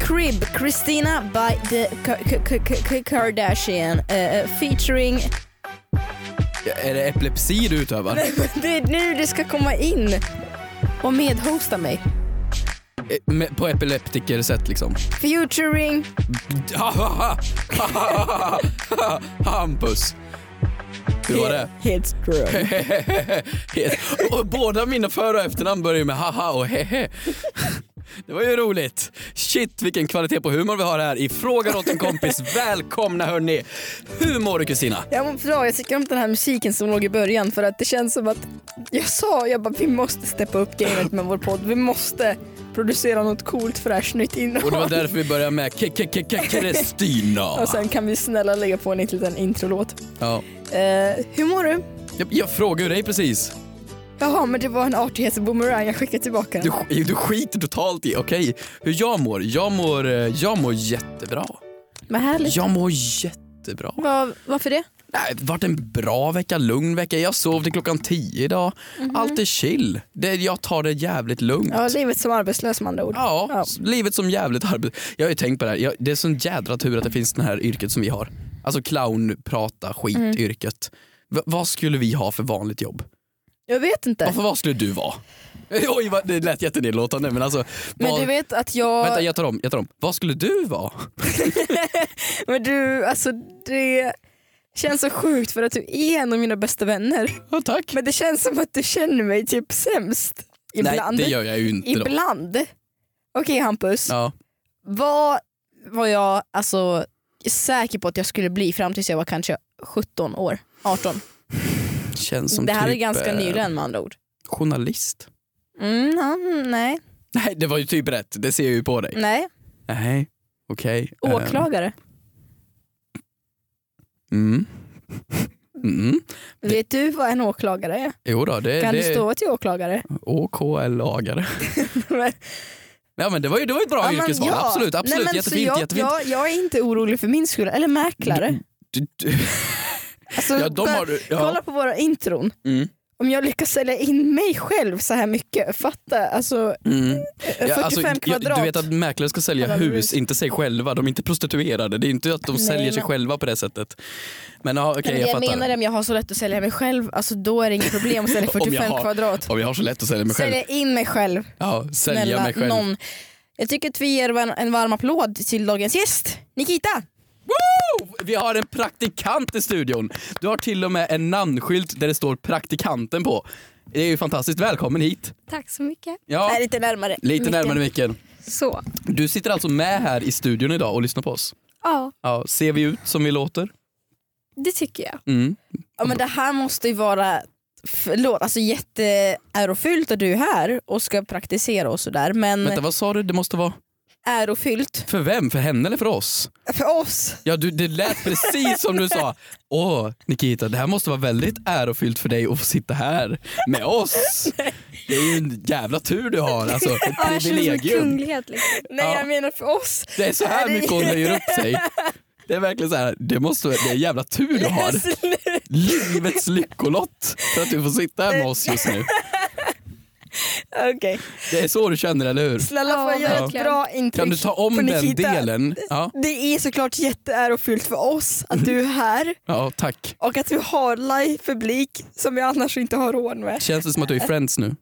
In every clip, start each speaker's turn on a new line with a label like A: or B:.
A: crib. Christina by the K- K- K- K- Kardashian eh, featuring...
B: Ja, Är det epilepsi du utövar?
A: Det är nu det ska komma in och medhosta mig.
B: Eh, med- På epileptiker-sätt liksom.
A: Featuring...
B: Hampus. Hur var det?
A: Hedström.
B: Och båda mina för och efternamn börjar ju med haha och hehe. Det var ju roligt. Shit vilken kvalitet på humor vi har här i Fråga åt en kompis. Välkomna hörni. Hur mår du Kristina?
A: Jag mår bra, jag tycker om den här musiken som låg i början för att det känns som att jag sa, jag bara vi måste steppa upp gamet med vår podd. Vi måste producera något coolt fräscht nytt innehåll.
B: Och det var därför vi började med K- K- K- K- Kristina.
A: Och sen kan vi snälla lägga på en liten introlåt.
B: Ja.
A: Eh, hur mår du?
B: Jag, jag frågade ju dig precis.
A: Jaha, men det var en artighetsboomerang. Jag skickar tillbaka
B: Du,
A: den.
B: sk- du skiter totalt i, okej, hur jag mår? Jag mår, eh, jag mår jättebra.
A: Men härligt.
B: Jag mår jättebra.
A: Var, varför det?
B: Nej, Det har varit en bra vecka, lugn vecka. Jag sov till klockan tio idag. Allt är chill. Det, jag tar det jävligt lugnt.
A: Mhm. Ja, livet som arbetslös med andra ord.
B: Ja,
A: Ja.
B: s- livet som jävligt arbete. Jag har ju tänkt på det här, jag, det är sån jädra tur att det finns det här yrket som vi har. Alltså clown, prata, skit,
A: Mm.
B: yrket. V- vad skulle vi ha för vanligt jobb?
A: Jag vet inte.
B: Varför, vad skulle du vara? Oj, vad, det lät jättenedlåtande men alltså.
A: Men
B: vad-
A: du vet att jag...
B: Vänta jag tar om, jag tar om. Vad skulle du vara?
A: Men du, alltså det känns så sjukt för att du är en av mina bästa vänner.
B: Ja, tack.
A: Men det känns som att du känner mig typ sämst. Ibland.
B: Nej det gör jag ju inte då.
A: Ibland. Okej Hampus,
B: Ja.
A: vad var jag alltså säker på att jag skulle bli fram tills jag var kanske 17 år? 18.
B: Känns som
A: det här
B: typ,
A: är ganska
B: eh,
A: nyligen med andra ord.
B: Journalist.
A: Mm, ja, mm, nej,
B: Nej det var ju typ rätt, det ser jag ju på dig.
A: nej.
B: Nej, okej. eh,
A: Åklagare.
B: Mm. Mm.
A: Vet du vad en åklagare är?
B: Jo då, det,
A: Kan
B: Eh, det
A: du stå till åklagare?
B: OKL-lagare.
A: Men-
B: Ja men det var ju det var ett bra
A: Ja, men
B: yrkesval,
A: ja.
B: absolut.
A: Nej,
B: absolut.
A: men så
B: jättefint.
A: jag,
B: jättefint.
A: Jag, jag är inte orolig för min skull, eller mäklare.
B: Du, du,
A: Alltså,
B: ja, de har, du- ja.
A: Kolla på våra intron.
B: Mm.
A: Om jag lyckas sälja in mig själv så här mycket, fatta alltså
B: Mm.
A: eh, 45
B: jag-
A: kvadrat.
B: Du vet att mäklare ska sälja
A: Alla
B: hus,
A: hus.
B: inte sig själva. De är inte prostituerade. Det är inte att de
A: Nej,
B: säljer sig
A: men-
B: själva på det sättet. Men ja, okej
A: Men
B: jag,
A: jag,
B: fattar.
A: menar om jag har så lätt att sälja mig själv, alltså då är det inget problem att sälja
B: Om jag
A: 45
B: har-
A: kvadrat.
B: Om jag har så lätt att sälja mig själv.
A: Sälja in mig själv,
B: Ja, sälja
A: snälla
B: mig själv.
A: någon. Jag tycker att vi ger en, en varm applåd till dagens gäst, Nikita.
B: Oh, Vi har en praktikant i studion. Du har till och med en namnskylt där det står praktikanten på. Det är ju fantastiskt. Välkommen hit.
C: Tack så mycket.
B: Ja,
A: Nej, lite närmare.
B: lite
A: micken.
B: närmare micken.
C: Så.
B: Du sitter alltså med här i studion idag och lyssnar på oss.
C: Ja,
B: Ja, ser vi ut som vi låter?
C: det tycker jag.
B: Mm.
A: Ja men det här måste ju vara, förlåt, alltså jätteärofyllt att du är här och ska praktisera och sådär men
B: Vänta, vad sa du? Det måste vara
A: ärofyllt
B: för vem? För henne eller för oss?
A: för oss.
B: Ja, du, det lät precis som du sa. Åh, Nikita, det här måste vara väldigt ärofyllt för dig att få sitta här med oss. Det är ju en jävla tur du har. Alltså, ett
C: Ja, jag känner mig som en
B: privilegium.
C: kunglighet. Liksom.
A: Nej
B: Ja.
A: jag menar för oss.
B: Det är så här
A: Det är-
B: mycket hon höjer upp sig. Det är verkligen så här, det, måste, det är en jävla tur du har. Livets lyckolott för att du får sitta här med oss just nu.
A: Okej,
B: Det är så du känner, eller hur?
A: snälla får jag
C: Ja,
A: göra ett
C: verkligen.
A: bra intryck
B: Kan du ta om
A: för
B: den
A: Nikita?
B: delen? Ja,
A: Det är såklart jätteärofyllt för oss att du är här
B: ja, tack.
A: och att du har live-publik som jag annars inte har råd med.
B: Känns det som att du är Friends nu?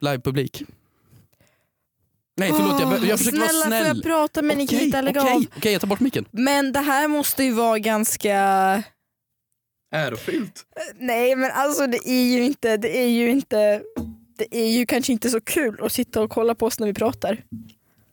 B: Live-publik. Nej förlåt, jag, be- jag försöker
A: snälla,
B: vara
A: får jag
B: snäll.
A: prata med
B: Okej,
A: Nikita? Lägg av.
B: okej, okej, jag tar bort micken.
A: Men det här måste ju vara ganska
B: Ärofyllt.
A: Nej men alltså det är ju inte, det är ju inte, det är ju kanske inte så kul att sitta och kolla på oss när vi pratar.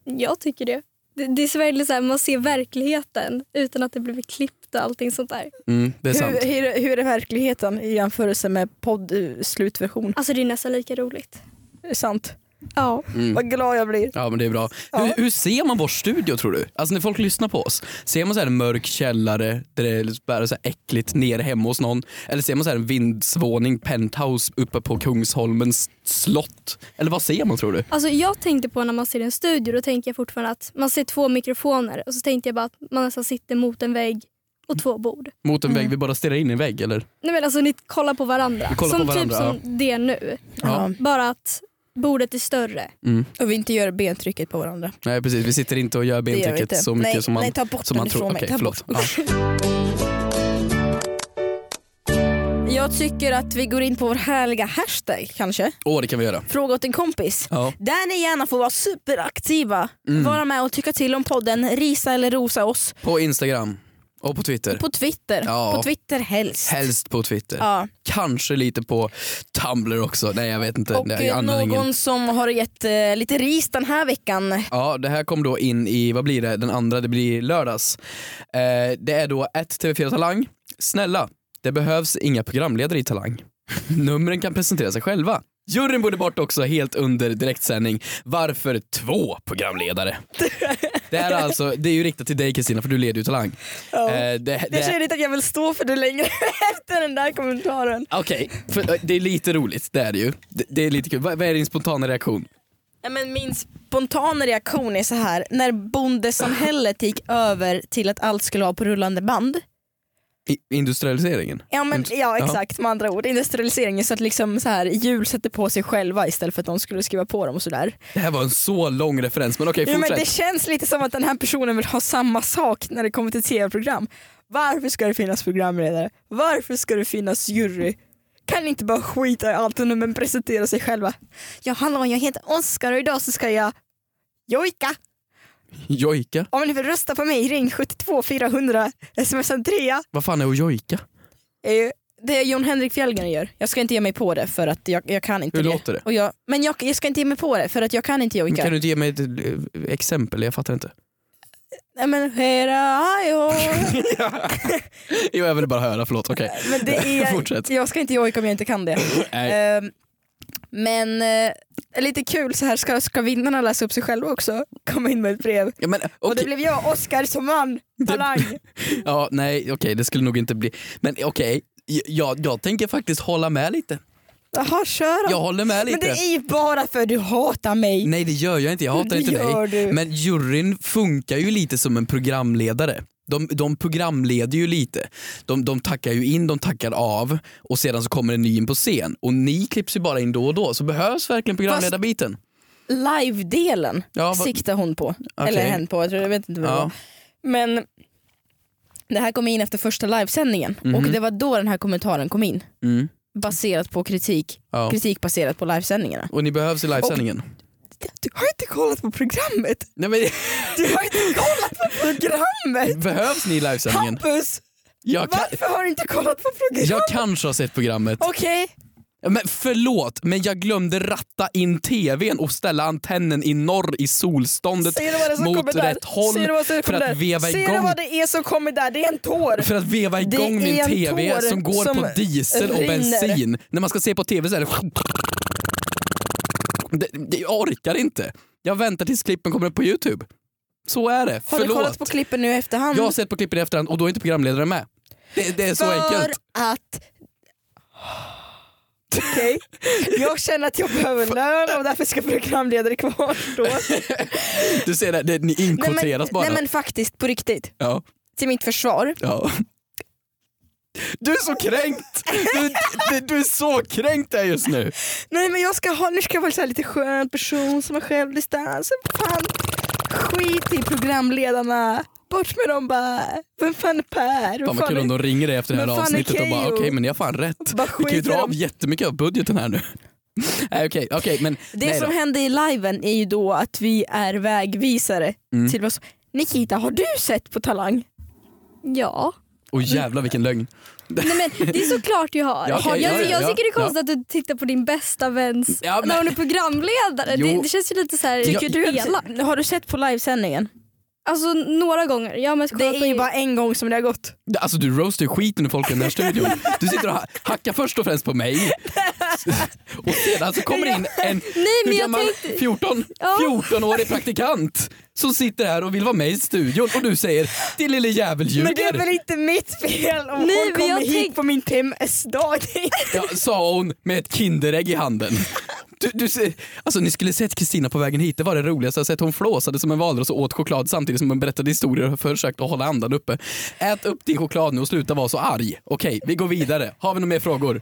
C: Jag tycker det. Det, det är så väldigt så här, man ser verkligheten utan att det blir klippt och allting sånt där.
B: Mm, det är sant.
A: Hur, hur, hur är verkligheten i jämförelse med podd eh, slutversion?
C: Alltså det är nästan lika roligt.
A: Är det sant?
C: Ja.
B: Mm.
A: Vad glad jag blir.
B: Ja men det är bra. Hur, hur ser man vår studio tror du? Alltså när folk lyssnar på oss, ser man så här en mörk källare där det är bara så här äckligt ner hemma hos någon? Eller ser man så här en vindsvåning, penthouse uppe på Kungsholmens slott? Eller vad ser man tror du?
C: Alltså jag tänkte på när man ser en studio, då tänker jag fortfarande att man ser två mikrofoner och så tänkte jag bara att man nästan sitter mot en vägg och två bord.
B: Mot en
A: Mm.
B: vägg, vi bara stirrar in i en vägg eller?
C: Nej men alltså ni kollar på varandra.
B: Vi kollar
C: som
B: på varandra,
C: typ som det är nu.
B: Ja. Mm.
C: Bara att bordet är större.
A: Och vi inte gör bentrycket på varandra.
B: Nej precis, vi sitter inte och gör
A: vi
B: bentrycket
A: inte.
B: så mycket
A: Nej,
B: som man,
A: nej, ta bort
B: som
A: den
B: man tror.
A: ifrån mig.
B: Okej,
A: Ta
B: förlåt.
A: bort
B: Ja.
A: Jag tycker att vi går in på vår härliga hashtag kanske.
B: Åh det kan vi göra.
A: Fråga åt en kompis.
B: Ja.
A: Där ni gärna får vara superaktiva.
B: Mm.
A: Vara med och tycka till om podden, risa eller rosa oss.
B: På Instagram och på Twitter.
A: På Twitter.
B: Ja.
A: På Twitter helst.
B: Helst på Twitter.
A: Ja.
B: Kanske lite på Tumblr också. Nej jag vet inte.
A: Och
B: Nej, jag
A: eh,
B: använder
A: någon
B: ingen.
A: som har gett eh, lite ris den här veckan.
B: Ja, det här kom då in i, vad blir det, den andra, det blir lördags. Eh, det är då ett TV4 Talang. Snälla, det behövs inga programledare i Talang. Numren kan presentera sig själva. Juryn borde bort också helt under direktsändning. Varför två programledare? Det här är alltså, det är ju riktat till dig Kristina för du leder ju Talang.
A: Ja.
B: Eh, det, det,
A: Jag känner inte att jag vill stå för det längre efter den där kommentaren.
B: Okej, för, eh, det är lite roligt, det är det ju. Det, det är lite kul. Vad, vad är din spontana reaktion?
A: Nej, men min spontana reaktion är så här. när bondesamhället gick över till att allt skulle vara på rullande band.
B: I, industrialiseringen?
A: Ja, men,
B: Indust-
A: ja exakt, med andra ord. Industrialiseringen så att liksom så här, hjul sätter på sig själva istället för att de skulle skriva på dem och sådär.
B: Det här var en så lång referens men okej
A: Ja, men
B: fortsätt.
A: det känns lite som att den här personen vill ha samma sak när det kommer till tv-program. Varför ska det finnas programledare? Varför ska det finnas jury? Kan ni inte bara skita i allt och nu men presentera sig själva? Ja hallå, jag heter Oskar och idag så ska jag jojka.
B: Jojka?
A: Om ni vill rösta på mig, ring 72 400, smsa en trea.
B: Vad fan är att jojka?
A: Eh, Det är Jon Henrik Fjällgren gör. Jag ska inte ge mig på det för att jag, jag kan inte
B: Hur
A: det.
B: låter det?
A: Och jag, men jag, jag ska inte ge mig på det för att jag kan inte
B: Men
A: jojka.
B: kan du inte ge mig ett eh, exempel? Jag fattar inte.
A: Nej men hera, hajå.
B: Jo, jag ville bara höra, förlåt. Okej.
A: Men det
B: Fortsätt.
A: är, jag ska inte jojka om jag inte kan det.
B: Nej.
A: Ehm, men eh, lite kul så här ska, ska vinnarna läsa upp sig själva också. Komma in med ett brev.
B: Ja, men,
A: Och det
B: okej.
A: blev jag, Oscar som man. Talang.
B: ja, nej, okej, det skulle nog inte bli... Men okej, jag, jag tänker faktiskt hålla med lite.
A: Jaha, kör då.
B: Jag håller med lite.
A: Men det är ju bara för du hatar mig.
B: Nej, det gör jag inte. Jag hatar
A: Det
B: inte
A: gör
B: dig.
A: du.
B: Men juryn funkar ju lite som en programledare. De, de programleder ju lite. De, de tackar ju in, de tackar av och sedan så kommer en ny in på scen. Och ni klipps ju bara in då och då, så behövs verkligen programledarbiten.
A: Live-delen
B: Ja, vad-
A: siktar hon på.
B: Okej.
A: Eller hen på, jag, tror, jag vet inte vad det
B: Ja.
A: var. Men det här kom in efter första livesändningen och
B: Mhm.
A: det var då den här kommentaren kom in.
B: Mm.
A: Baserat på kritik,
B: Ja.
A: kritik baserat på livesändningarna.
B: Och ni behövs i livesändningen.
A: Du har inte kollat på programmet!
B: Nej, men,
A: Du har inte kollat på programmet!
B: behövs ni i livesändningen?
A: Hampus!
B: Jag, kan,
A: Varför har du inte kollat på programmet?
B: jag kanske har sett programmet.
A: Okej,
B: Men förlåt, men jag glömde ratta in tvn och ställa antennen i norr i solståndet
A: ser du vad det är som kommer
B: mot
A: där?
B: rätt håll
A: ser du vad det är som
B: för
A: kommer
B: att
A: där?
B: veva
A: Ser du
B: igång
A: vad det är som kommer där? Det är en tår!
B: för att veva
A: Det
B: igång
A: är
B: min
A: en
B: TV
A: tår
B: som går
A: som
B: på diesel och
A: rinner.
B: bensin. När man ska se på TV så är det... Det- det- Jag orkar inte. Jag väntar tills klippen kommer upp på Youtube. Så är det.
A: Har du kollat
B: Förlåt.
A: på klippen nu i efterhand?
B: Jag har sett på klippen i efterhand och då är inte programledaren med. Det, det är så
A: för
B: enkelt.
A: att... Okej, jag känner att jag behöver lön och därför ska programledare kvarstå.
B: Du ser det, det ni
A: nej,
B: inkvoteras
A: men,
B: bara.
A: nej men faktiskt, på riktigt.
B: Ja.
A: Till mitt försvar.
B: Ja. Du är så kränkt! Du, du, du är så kränkt där just nu.
A: Nej men jag ska ha, nu ska jag vara så här lite skön person som har självdistans. Fan, skit i programledarna. Bort med dem bara. Vem fan är Per? Vem
B: Fan vad
A: fan
B: kul om
A: är...
B: de ringer dig efter det här
A: Men fan är
B: avsnittet och bara
A: Keyyo?
B: okej men ni har fan rätt.
A: Bara
B: Vi kan ju
A: skiter
B: dra av
A: de-
B: jättemycket av budgeten här nu. Nej okej, okej men
A: Det
B: nej
A: som
B: då.
A: hände i liven är ju då att vi är vägvisare
B: Mm.
A: till vad som... Nikita, har du sett på Talang?
C: Ja.
B: Åh jävlar vilken lögn.
C: Nej, men det är såklart jag har.
B: Ja, okej,
C: jag,
B: ja,
C: jag,
B: ja, ja.
C: tycker det är konstigt att du tittar på din bästa väns
B: Ja, men-
C: när hon är programledare.
B: Jo.
C: Det, det känns ju lite så här
B: Tycker
C: elakt.
A: har du sett på livesändningen?
C: Alltså några gånger. Jag har mest
A: Det
C: kollat på
A: är ju bara en gång som det har gått.
B: Alltså du roastar ju skiten ur folk i den här studion. Du sitter och ha- hackar först och främst på mig. Och sedan så kommer det in en
C: Nej men
B: hur
C: jag
B: gammal?
C: tänkte...
B: 14,
C: Ja.
B: 14-årig praktikant som sitter här och vill vara med i studion och du säger din lille jävel
A: Men det är
B: ljuger.
A: väl inte mitt fel om
C: Nej,
A: hon
C: men
A: kommer
C: jag
A: hit
C: tänk-
A: på min PMS-dag. Det är inte-
B: Ja, sa hon med ett kinderägg i handen. Du, du, ser- alltså, ni skulle sett Kristina på vägen hit, det var det roligaste jag sett. Hon flåsade som en valros och åt choklad samtidigt som hon berättade historier och försökte att hålla andan uppe. Ät upp din choklad nu och sluta vara så arg. Okej, vi går vidare. Har vi några mer frågor?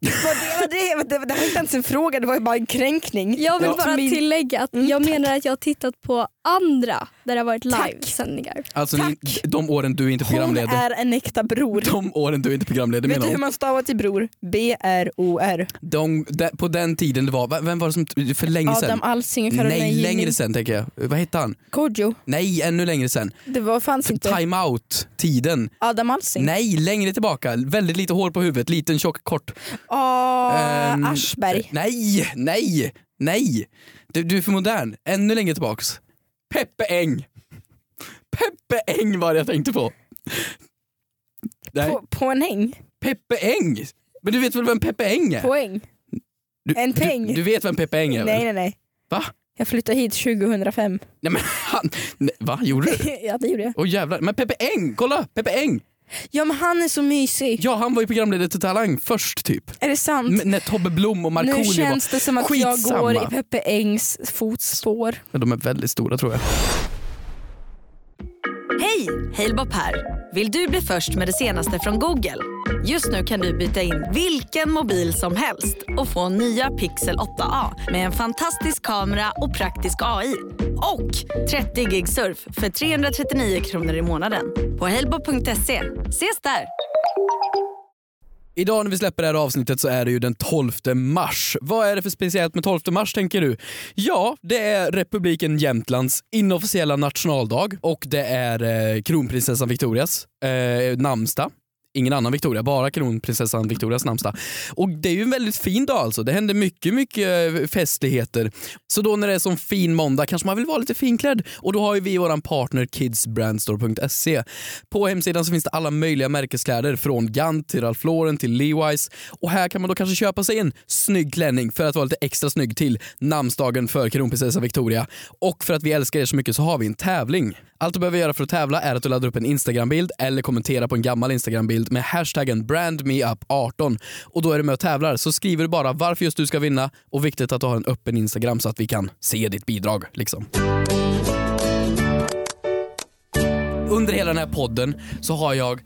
A: Vad det, vad det, vad det, det var inte ens en fråga, det var ju bara en kränkning.
C: Jag vill
A: Ja.
C: bara
A: Min- Mm,
C: tillägga att jag menar att jag har tittat på andra där det har varit
A: Tack.
C: livesändningar.
B: Alltså ni,
A: Tack.
B: de åren du inte är
A: Hon
B: programledare.
A: är en äkta bror.
B: De åren du inte är programledare
A: Vet
B: menar
A: du
B: hon.
A: hur man stavar till bror? B-R-O-R.
B: De, de, på den tiden det var, va- vem var det som, för länge sedan?
A: Adam Alsing och Carolina
B: Nej, längre
A: Gynning.
B: sen tänker jag. Vad hette han?
A: Kodjo.
B: Nej, ännu längre sen.
A: Det var, fanns inte.
B: Time out-tiden.
A: Adam Alsing.
B: Typ Nej, längre tillbaka. Väldigt lite hår på huvudet, liten, tjock, kort.
A: Ah,
B: Ehm,
A: Aschberg.
B: Nej, nej, nej. Du, du är för modern. Ännu längre tillbaks. Peppe Eng. Peppe Eng var det jag tänkte på. Nej,
A: På, på en häng.
B: eh. Peppe Eng. Men du vet väl vem Peppe Eng är?
A: Poäng.
B: Du,
A: en peng.
B: Du, du vet vem Peppe Eng är?
A: Nej nej
B: väl?
A: nej.
B: Va?
A: Jag flyttade hit 2005.
B: Nej men han, nej, va gjorde du?
A: ja det gjorde jag.
B: Åh jävlar, men Peppe Eng, kolla! Peppe Eng!
A: Ja men han är så mysig.
B: Ja han var ju programledare till Talang först typ.
A: Är det sant?
B: M- när Tobbe Blom och
A: nu
B: Markoolio var...
A: känns det som att jag
B: Skitsamma.
A: går i Peppe Engs fotspår.
B: Men de är väldigt stora tror jag.
D: Hej! Halebop här. Vill du bli först med det senaste från Google? Just nu kan du byta in vilken mobil som helst och få nya Pixel 8A med en fantastisk kamera och praktisk AI. Och 30 gig surf för 339 kronor i månaden på halebop.se. Ses där!
B: Idag när vi släpper det här avsnittet så är det ju den 12 mars. Vad är det för speciellt med 12 mars tänker du? Ja, det är republiken Jämtlands inofficiella nationaldag och det är eh, kronprinsessan Victorias eh, namnsdag. Ingen annan Victoria, bara kronprinsessan Victorias namnsdag. Och det är ju en väldigt fin dag alltså. Det händer mycket, mycket eh, festligheter. Så då när det är som fin måndag kanske man vill vara lite finklädd och då har ju vi våran partner kidsbrandstore.se. På hemsidan så finns det alla möjliga märkeskläder från Gant till Ralph Lauren till Levi's och här kan man då kanske köpa sig en snygg klänning för att vara lite extra snygg till namnsdagen för kronprinsessan Victoria. Och för att vi älskar er så mycket så har vi en tävling. Allt du behöver göra för att tävla är att du laddar upp en Instagram-bild eller kommentera på en gammal Instagram-bild med hashtaggen brandmeup18 och då är du med och tävlar. Så skriver du bara varför just du ska vinna och viktigt att du har en öppen Instagram så att vi kan se ditt bidrag liksom. Under hela den här podden så har jag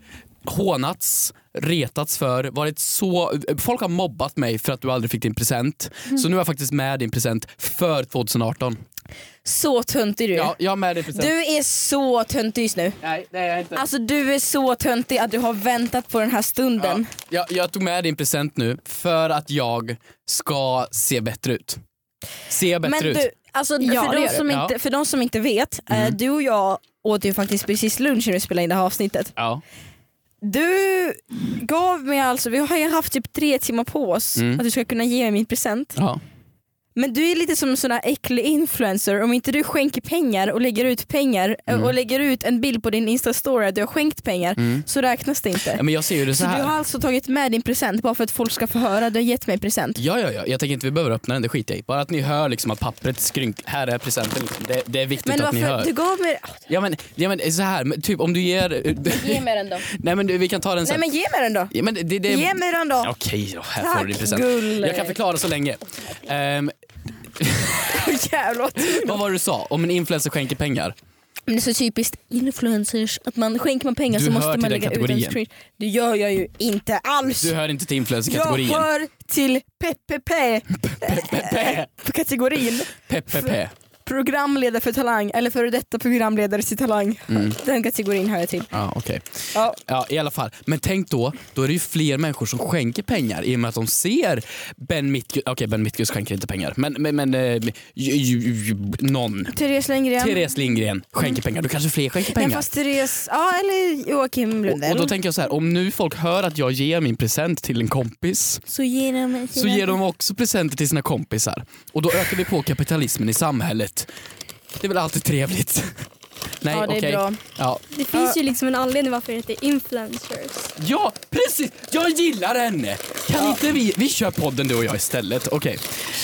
B: hånats, retats för, varit så... Folk har mobbat mig för att du aldrig fick din present. Så nu är jag faktiskt med din present för 2018.
A: Så töntig du är.
B: Ja, jag har med din present.
A: Du är så töntig just nu.
B: Nej, det är jag inte.
A: Alltså du är så töntig att du har väntat på den här stunden.
B: Ja, jag, jag tog med din present nu för att jag ska se bättre ut. Se bättre
A: Men
B: ut.
A: du, alltså,
C: Ja,
A: för,
C: det
A: de
C: gör
A: som
B: du.
A: inte,
B: Ja. Mm.
A: för de som inte vet, eh, du och jag åt ju faktiskt precis lunch när vi spelade in det här avsnittet.
B: Ja.
A: Du gav mig alltså, vi har ju haft typ tre timmar på oss
B: Mm.
A: att du ska kunna ge mig min present.
B: Ja.
A: Men du är lite som en sån här äcklig influencer, om inte du skänker pengar och lägger ut pengar eh, och lägger ut en bild på din instastory att du har skänkt pengar
B: Mm.
A: så räknas det inte.
B: Ja, men jag ser ju det så
A: Så du har
B: här.
A: alltså tagit med din present bara för att folk ska få höra att du har gett mig present.
B: Ja, ja, ja. Jag tänker inte vi behöver öppna den, det skiter jag i. Bara att ni hör liksom att pappret skrynk... Här är presenten. Liksom. Det, det är viktigt
A: Men
B: att ni hör.
A: varför, du gav mig
B: Ja, men, ja, men så här. Men, typ om du ger...
A: Ge mig den då.
B: Nej men du, vi kan ta den
A: Nej
B: sen.
A: men ge mig den då.
B: Ja, men det, det...
A: Ge mig den då.
B: Okej då, här
A: Tack,
B: får du din present.
A: gull.
B: Jag kan förklara så länge. Ehm,
A: Åh, jävlar.
B: vad var det du sa om en influencer skänker pengar?
A: Men det är så typiskt influencers att man skänker man pengar
B: Du
A: så
B: hör
A: måste
B: till
A: man
B: den
A: lägga ut en
B: kategorin.
A: screen. Det gör jag ju inte alls.
B: Du hör inte till
A: jag
B: influencer-kategorin.
A: hör till PPP
B: Pepe,
A: kategorin
B: pepe, pepe.
A: programledare för talang eller före detta programledare till talang.
B: Mm.
A: Den kategorin hör jag till.
B: Ja, okej.
A: Ja.
B: Ja, i alla fall. Men tänk då, då är det ju fler människor som skänker pengar i och med att de ser Ben Mitkus, okej Ben Mitkus skänker inte pengar, men, men, men eh, ju, ju, ju, någon.
A: Therese Lindgren.
B: Therese Lindgren skänker pengar, då kanske fler skänker
A: Nej,
B: pengar.
A: fast Therese, ja eller Joakim
B: Och, och
A: Lundell.
B: då tänker jag så här, om nu folk hör att jag ger min present till en kompis
A: så ger de mig
B: så ger de också presenter till sina kompisar. Och då ökar vi på kapitalismen i samhället. Det är väl alltid trevligt? Nej,
E: ja, det är
B: okej.
E: bra.
B: Ja.
C: Det finns ju liksom en anledning varför det heter influencers.
B: ja, precis! Jag gillar henne! Kan inte vi... Vi kör podden du och jag istället. Okej.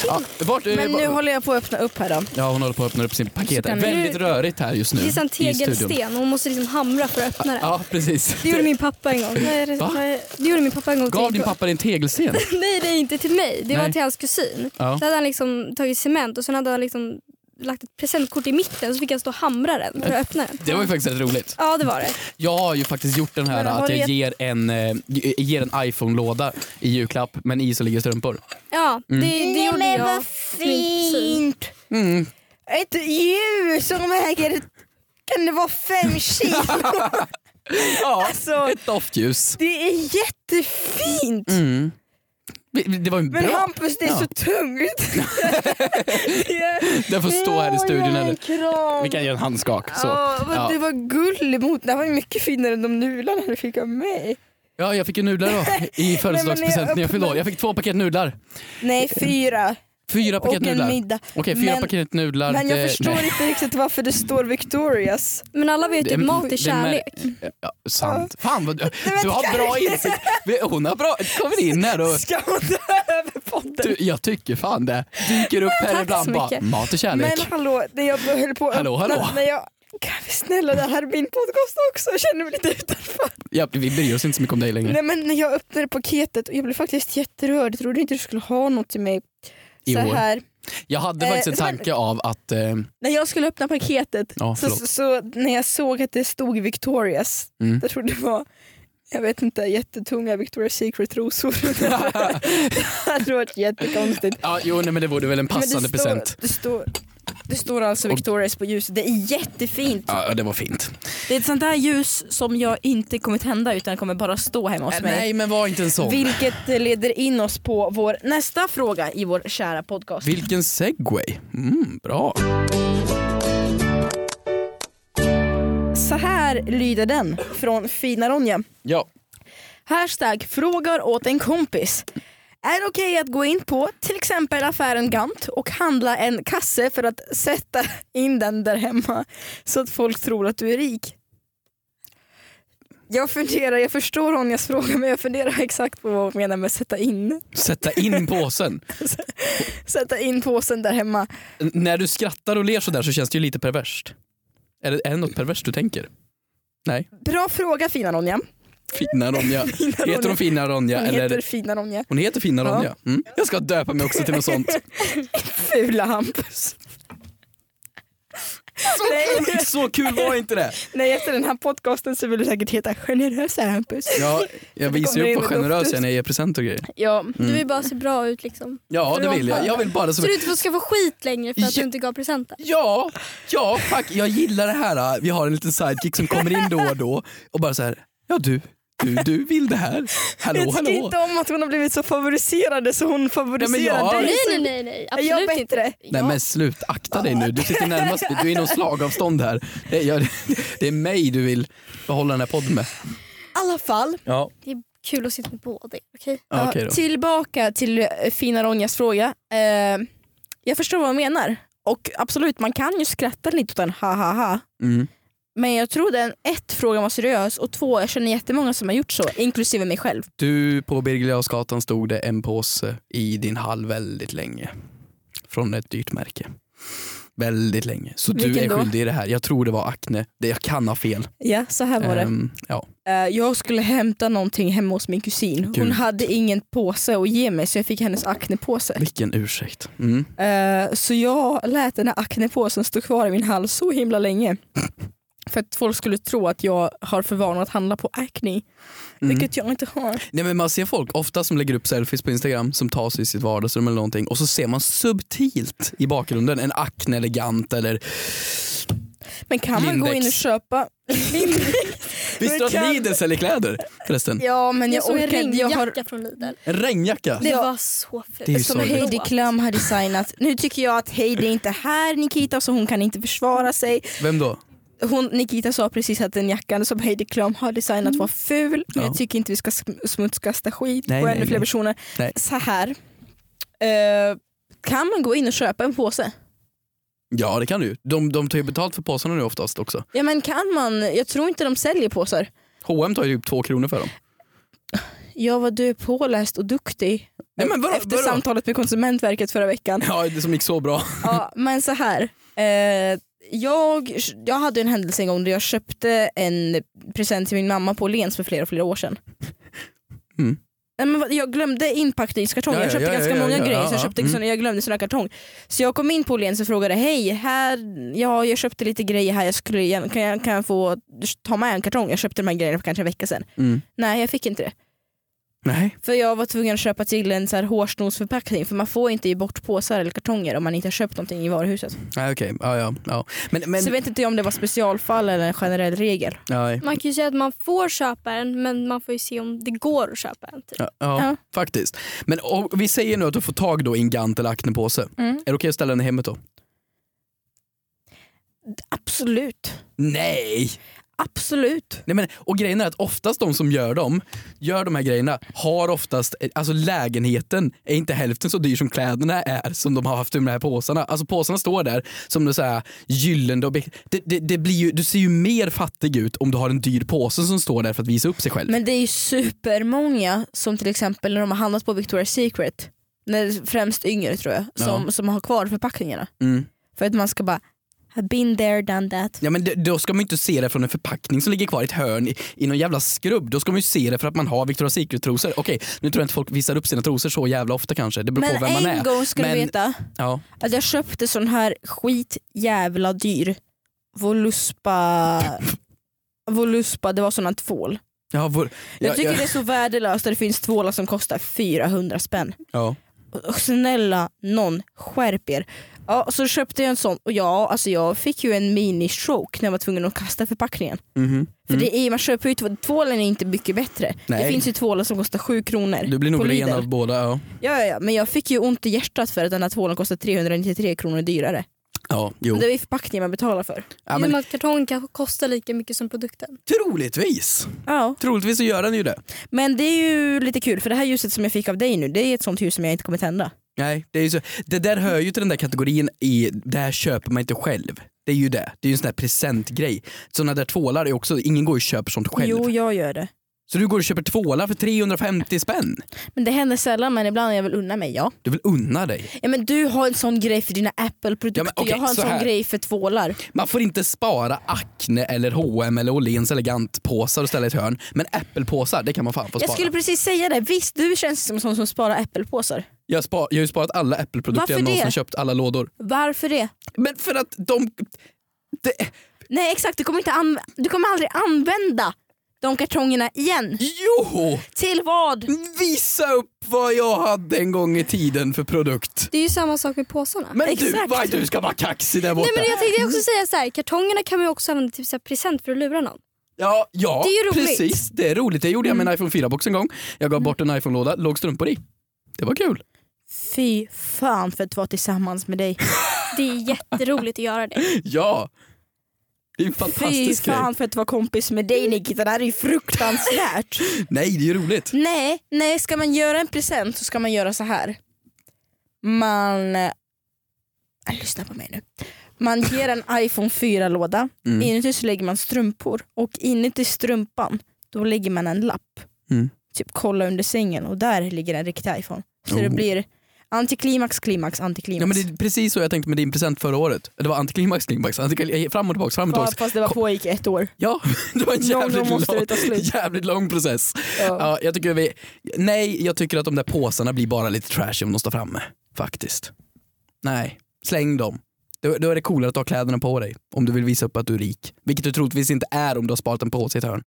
B: Ja, vart- eh,
E: Men
B: va-
E: nu håller jag på att öppna upp här då.
B: Ja, hon håller på att öppna upp sin paket.
E: Så kan
B: Väldigt rörigt här just nu.
C: Det är en
B: i studion.
C: tegelsten och hon måste liksom hamra för att öppna den.
B: Ja, precis.
C: Det gjorde min pappa en gång.
A: Vad är det,
B: Va?
A: vad är,
C: Det gjorde min pappa en gång
B: Gav
C: till.
B: din pappa din tegelsten?
C: Nej, det är inte till mig. Det
B: Nej.
C: var till hans kusin.
B: Ja.
C: Så hade han liksom tagit cement och sen hade han liksom lagt ett presentkort i mitten och så fick jag stå och hamra den för att öppna den.
B: Det var ju faktiskt rätt roligt.
C: Ja, det var det.
B: Jag har ju faktiskt gjort den här
A: Men har
B: att
A: du
B: jag
A: gett-
B: ger en, eh, ge- ger en iPhone-låda i julklapp men i så ligger strumpor.
C: Ja, det, det gjorde
A: men
C: jag.
A: vad fint!
B: Mm.
A: Ett djur som äger kan det vara fem kilo?
B: Ja,
A: Alltså,
B: ett doftljus.
A: det är jättefint!
B: Mm. Vi- vi- Det var ju
A: Men
B: bra.
A: Hampus det är
B: Ja.
A: så tungt. Det är-
B: Den får stå här i studion.
A: Åh, jag har en
B: Eller.
A: kram.
B: Vi kan ge en handskak. Så.
A: Ja, vad
B: Ja.
A: Du var gullig mot Det här var ju mycket finare än de nudlarna du fick av mig.
B: Ja, jag fick ju nudlar då i födelsedagspresent när jag fyllde år. Jag fick två paket nudlar.
A: Nej,
B: Eh,
A: fyra.
B: Fyra paket
A: Och en
B: nudlar.
A: middag.
B: Okej, fyra
A: Men-
B: paket nudlar.
A: Men jag
B: det-
A: förstår
B: nej.
A: inte riktigt varför det står Victorias.
C: Men alla vet ju
B: Det-
C: att mat
B: det-
C: är kärlek.
B: Ja, sant. Fan, vad, du du har bra insikt. Vi- Hon har bra... Kommer in här och...
A: Ska hon ta över podden?
B: Du, jag tycker fan det. Dyker upp här
C: Tack
B: ibland
C: så
B: bara,
C: mycket.
B: mat och kärlek.
A: Men hallå, när jag höll på att
B: Hallå,
A: öppna-
B: hallå.
A: När jag, kan vi snälla, det här är min podcast också. Jag känner mig lite utanför.
B: Ja, vi bryr oss inte så mycket om dig längre.
A: Nej men när jag öppnade paketet, och jag blev faktiskt jätterörd. Jag trodde inte du skulle ha något till mig.
B: I
A: Så
B: år.
A: här.
B: Jag hade
A: Eh,
B: faktiskt en
A: men-
B: tanke av att... Eh,
A: När jag skulle öppna paketet,
B: ja,
A: så,
B: förlåt.
A: så, så när jag såg att det stod Victorias,
B: Mm.
A: jag trodde det var jag vet inte, jättetunga Victoria's Secret-rosor. det hade varit jättekonstigt.
B: Ja, jo, nej, men det vore väl en
A: Men
B: passande
A: det står,
B: present.
A: Det står, det står alltså
B: Och-
A: Victorias på ljuset. Det är jättefint.
B: Ja, det var fint.
E: Det är ett sånt där ljus som jag inte kommer tända utan kommer bara stå hemma hos
B: Eh,
E: mig.
B: nej, men var inte en sån.
E: Vilket eh, leder in oss på vår nästa fråga i vår kära podcast.
B: Vilken segway. Mm, bra.
A: Så här lyder den från Fina Ronja.
B: Ja.
A: Hashtag frågar åt en kompis. Är det okej att gå in på till exempel affären Gant och handla en kasse för att sätta in den där hemma så att folk tror att du är rik? Jag funderar, jag förstår Ronjas fråga men jag funderar exakt på vad hon menar med sätta in.
B: Sätta in påsen.
A: Sätta in påsen där hemma.
B: N- När du skrattar och ler sådär så känns det ju lite perverst. Är det, är det något perverst du tänker? Nej.
A: Bra fråga fina Ronja.
B: Fina Ronja. Heter hon Fina Ronja?
A: Hon
B: eller?
A: heter Fina Ronja.
B: Hon heter Fina Ronja. Mm. Jag ska döpa mig också till något sånt.
A: Fula Hampus. Nej.
B: Så kul var inte det.
A: Nej, efter den här podcasten så vill du säkert heta generösa Hampus.
B: Ja, jag visar ju upp vad generös jag är när jag ger presenter och grejer.
A: Ja.
C: Du vill bara se bra ut liksom.
B: Ja, det vill jag. Jag vill bara...
C: Så
B: Så...
C: du inte får skaffa skit längre för att du
B: Ja.
C: inte gav presenter.
B: Ja, ja, fuck. Jag gillar det här. Vi har en liten sidekick som kommer in då och då och bara så här. Ja, du. Du, du vill det här. Hallå,
A: jag tycker
B: hallå.
A: inte om att hon har blivit så favoriserad så hon favoriserar
B: jag-
A: dig.
C: Nej,
A: som-
C: nej, nej, nej.
A: Är jag
C: Absolut inte.
A: bättre?
B: Nej men slut, akta dig nu. Du sitter närmast, du är inom slagavstånd här. Det är, jag, det är mig du vill behålla den här podden med.
A: I alla fall,
B: Ja.
C: Det är kul att sitta med båda. Okej?
B: Okej
A: ja, typ.
B: då.
A: tillbaka till eh, fina Ronjas fråga. Eh, jag förstår vad hon menar. Och absolut, man kan ju skratta lite åt den, ha ha ha.
B: Mm.
A: Men jag tror den ett, frågan var seriös och två, jag känner jättemånga som har gjort så, inklusive mig själv.
B: Du, på Birger Jarlsgatan stod det en påse i din hall väldigt länge. Från ett dyrt märke. Väldigt länge. Så du
A: Vilken
B: är
A: då?
B: skyldig i det här. Jag tror det var Acne. Det- Jag kan ha fel.
A: Ja, så här var det.
B: Ehm, ja.
A: Eh, jag skulle hämta någonting hemma hos min kusin. Hon
B: Gud.
A: hade ingen påse att ge mig så jag fick hennes aknepåse.
B: Vilken ursäkt. Mm.
A: Eh, så jag lät den här aknepåsen stå kvar i min hals så himla länge. För att folk skulle tro att jag har för vana att handla på acne,
B: Mm.
A: vilket jag inte har.
B: Nej, men man ser folk ofta som lägger upp selfies på Instagram som tar sig i sitt vardagsrum eller någonting och så ser man subtilt i bakgrunden en Acne elegant eller
A: Men kan man gå
B: Lindex.
A: in och köpa
B: Visste du att
A: kan-
B: Lidl säljer kläder förresten?
A: Ja men
C: Jag
A: jag,
C: såg en
A: orkar inte. Jag
C: regnjacka
A: har Alltså,
C: från Lidl.
B: En regnjacka.
C: Det
A: Ja.
C: var så fult.
B: Det är ju
A: som
B: sorgligt.
A: Heidi Klum har designat. Nu tycker jag att Heidi är inte här Nikita så hon kan inte försvara sig.
B: Vem då?
A: Hon, Nikita sa precis att den jackan som Heidi Klum har designat var ful. Men
B: Mm. Ja.
A: jag tycker inte vi ska sm- smutskasta skit
B: Nej,
A: på
B: nej,
A: ännu fler
B: nej.
A: personer.
B: Nej.
A: Så här. Eh, kan man gå in och köpa en påse?
B: Ja det kan du ju. De, de tar ju betalt för påsarna nu oftast också.
A: Ja men kan man, jag tror inte de säljer påsar.
B: H&M tar ju typ två kronor för dem.
A: Ja vad du är påläst och duktig.
B: Nej, men vadå,
A: Efter
B: vadå?
A: samtalet med Konsumentverket förra veckan.
B: Ja det som gick så bra.
A: Ja, men så här. Eh, jag, jag hade en händelse en gång där jag köpte en present till min mamma på Lens för flera, flera år sedan.
B: Mm.
A: Nej, men vad- jag glömde inpackningskartong,
B: Ja, ja,
A: jag köpte
B: ja,
A: ganska
B: ja,
A: många
B: ja, ja,
A: grejer så
B: ja.
A: jag, köpte
B: Mm.
A: såna, jag glömde såna kartong. Så jag kom in på Åhléns och frågade hej, här, ja, jag köpte lite grejer här, jag skulle, gärna- kan, jag, kan jag få ta med en kartong? Jag köpte de här grejerna för kanske en vecka sedan.
B: Mm.
A: Nej jag fick inte det.
B: Nej.
A: För jag var tvungen att köpa till en så här hårsnosförpackning för man får inte ge bort påsar eller kartonger om man inte har köpt någonting i varuhuset.
B: Nej okej, ja, ja, ja. Men, men,
A: Så vet inte jag om det var specialfall eller en generell regel.
B: nej.
C: Man kan ju säga att man får köpa en men man får ju se om det går att köpa en. Typ.
B: Ja, ja,
A: Ja.
B: faktiskt. Men om, vi säger nu att du får tag då i en Gant eller Acne-påse.
A: Mm.
B: Är det okej att ställa den i hemmet då?
A: Absolut.
B: Nej!
A: Absolut.
B: Nej men, och grejen är att oftast de som gör dem, gör de här grejerna, har oftast, alltså lägenheten är inte hälften så dyr som kläderna är som de har haft i de här påsarna. Alltså påsarna står där som det så här gyllene objekt. Det, det, det blir ju, du ser ju mer fattig ut om du har en dyr påse som står där för att visa upp sig själv.
A: Men det är ju supermånga som till exempel när de har handlat på Victoria's Secret, när, främst yngre tror jag, som, som har kvar förpackningarna.
B: Mm.
A: För att man ska bara have been there, done that.
B: Ja men det, då ska man ju inte se det från en förpackning som ligger kvar i ett hörn i, i någon jävla skrubb. Då ska man ju se det för att man har Victoria's Secret trosor. Okej, nu tror jag inte folk visar upp sina trosor så jävla ofta kanske. Det beror
A: Men
B: på vem man
A: en
B: är.
A: gång ska
B: Men-
A: du veta
B: Ja.
A: att jag köpte sån här skit jävla dyr Voluspa, Voluspa det var sån här tvål.
B: Ja, vår,
A: Jag
B: ja,
A: tycker
B: ja,
A: det är så värdelöst att det finns tvålar som kostar 400 spänn.
B: ja.
A: Och Snälla någon, skärp er. Ja, så köpte jag en sån och ja, alltså jag fick ju en mini-stroke när jag var tvungen att kasta förpackningen.
B: Mhm.
A: För det är, man köper ju två- tvålen är inte mycket bättre.
B: Nej.
A: Det finns ju tvålar som kostar 7 kronor.
B: Du blir nog
A: på
B: ren
A: Lidl.
B: av båda. Ja.
A: Ja, ja, ja, men jag fick ju ont i hjärtat för att den här tvålen kostar 393 kronor dyrare.
B: Oh. Ja, jo.
A: Men det är ju förpackningen man betalar för.
B: Ja,
C: I och
B: men,
C: med att kartongen kanske kostar lika mycket som produkten.
B: troligtvis.
A: Ja.
B: Troligtvis så gör den ju det.
A: Men det är ju lite kul för det här ljuset som jag fick av dig nu, det är ett sånt ljus som jag inte kommer tända.
B: Nej, det, är ju så, det där hör ju till den där kategorin i det här köper man inte själv. Det är ju det. Det är ju en sån där presentgrej. Såna där tvålar är också, ingen går och köper sånt själv.
A: Jo, jag gör det.
B: Så du går och köper tvålar för 350 spänn?
A: Men det händer sällan men ibland jag vill unna mig, ja.
B: Du vill unna dig.
A: Ja, men du har en sån grej för dina Apple-produkter,
B: Ja, men okej,
A: jag har en
B: så
A: sån
B: här.
A: grej för tvålar.
B: Man får inte spara Acne eller H&M eller Åhléns elegantpåsar och ställa i ett hörn. Men Apple-påsar, det kan man fan få spara.
A: Jag
B: Jag,
A: skulle precis säga det, visst du känns som en sån som sparar Apple-påsar.
B: jag, har, spar, jag har ju sparat alla Apple-produkter jag
A: Varför
B: någonsin
A: det?
B: köpt, alla lådor.
A: Varför det?
B: Men för att de... Det,
A: Nej exakt, du kommer, inte anv- du kommer aldrig använda de kartongerna igen.
B: jo!
A: Till vad?
B: Visa upp vad jag hade en gång i tiden för produkt.
C: Det är ju samma sak med påsarna.
B: Men Mm. du,
A: Exakt.
B: vad du ska vara kaxig där borta.
C: Nej, men jag tänkte också säga så här, kartongerna kan man ju också använda till så här present för att lura någon.
B: Ja, ja
C: Det är ju roligt.
B: precis. Det är roligt. Det gjorde jag med
A: Mm.
B: en iPhone 4-box en gång. Jag gav bort en iPhone-låda, låg strumpor i. Det var kul.
A: Fy fan för att vara tillsammans med dig.
C: Det är jätteroligt att göra det.
B: Ja! Det är en
A: Fy
B: fantastisk
A: fan för att vara kompis med dig Nikita, det här är ju fruktansvärt.
B: grej. Nej, det är ju roligt.
A: nej, nej, ska man göra en present så ska man göra så här. Man... eh, Lyssna på mig nu. Man ger en iPhone 4-låda,
B: Mm.
A: inuti så lägger man strumpor och inuti strumpan då lägger man en lapp.
B: Mm.
A: Typ kolla under sängen och där ligger en riktig iPhone. Så det
B: Oh.
A: blir antiklimax, klimax,
B: Ja, men
A: antiklimax.
B: det är precis så jag tänkte med din present förra året. Det var antiklimax, klimax, antiklimax, eh, fram och tillbaks, fram och tillbaks.
A: Fast det var pågick i ett år.
B: Ja, det var en
A: Någon gång
B: jävligt,
A: måste
B: lång,
A: det ta slut.
B: jävligt lång process.
A: Ja.
B: Ja, jag tycker vi, nej, jag tycker att de där påsarna blir bara lite trashy om de står framme. Faktiskt. Nej, släng dem. Då, då är det coolare att ha kläderna på dig om du vill visa upp att du är rik. Vilket du troligtvis inte är om du har sparat en påse i ett hörn.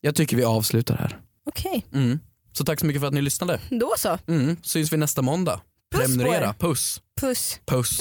B: Jag tycker vi avslutar här.
A: Okej,
B: Mm. Så tack så mycket för att ni lyssnade.
A: då så.
B: Mm. Syns vi nästa måndag.
A: Puss på er.
B: Prenumerera. Puss.
A: Puss.
B: Puss.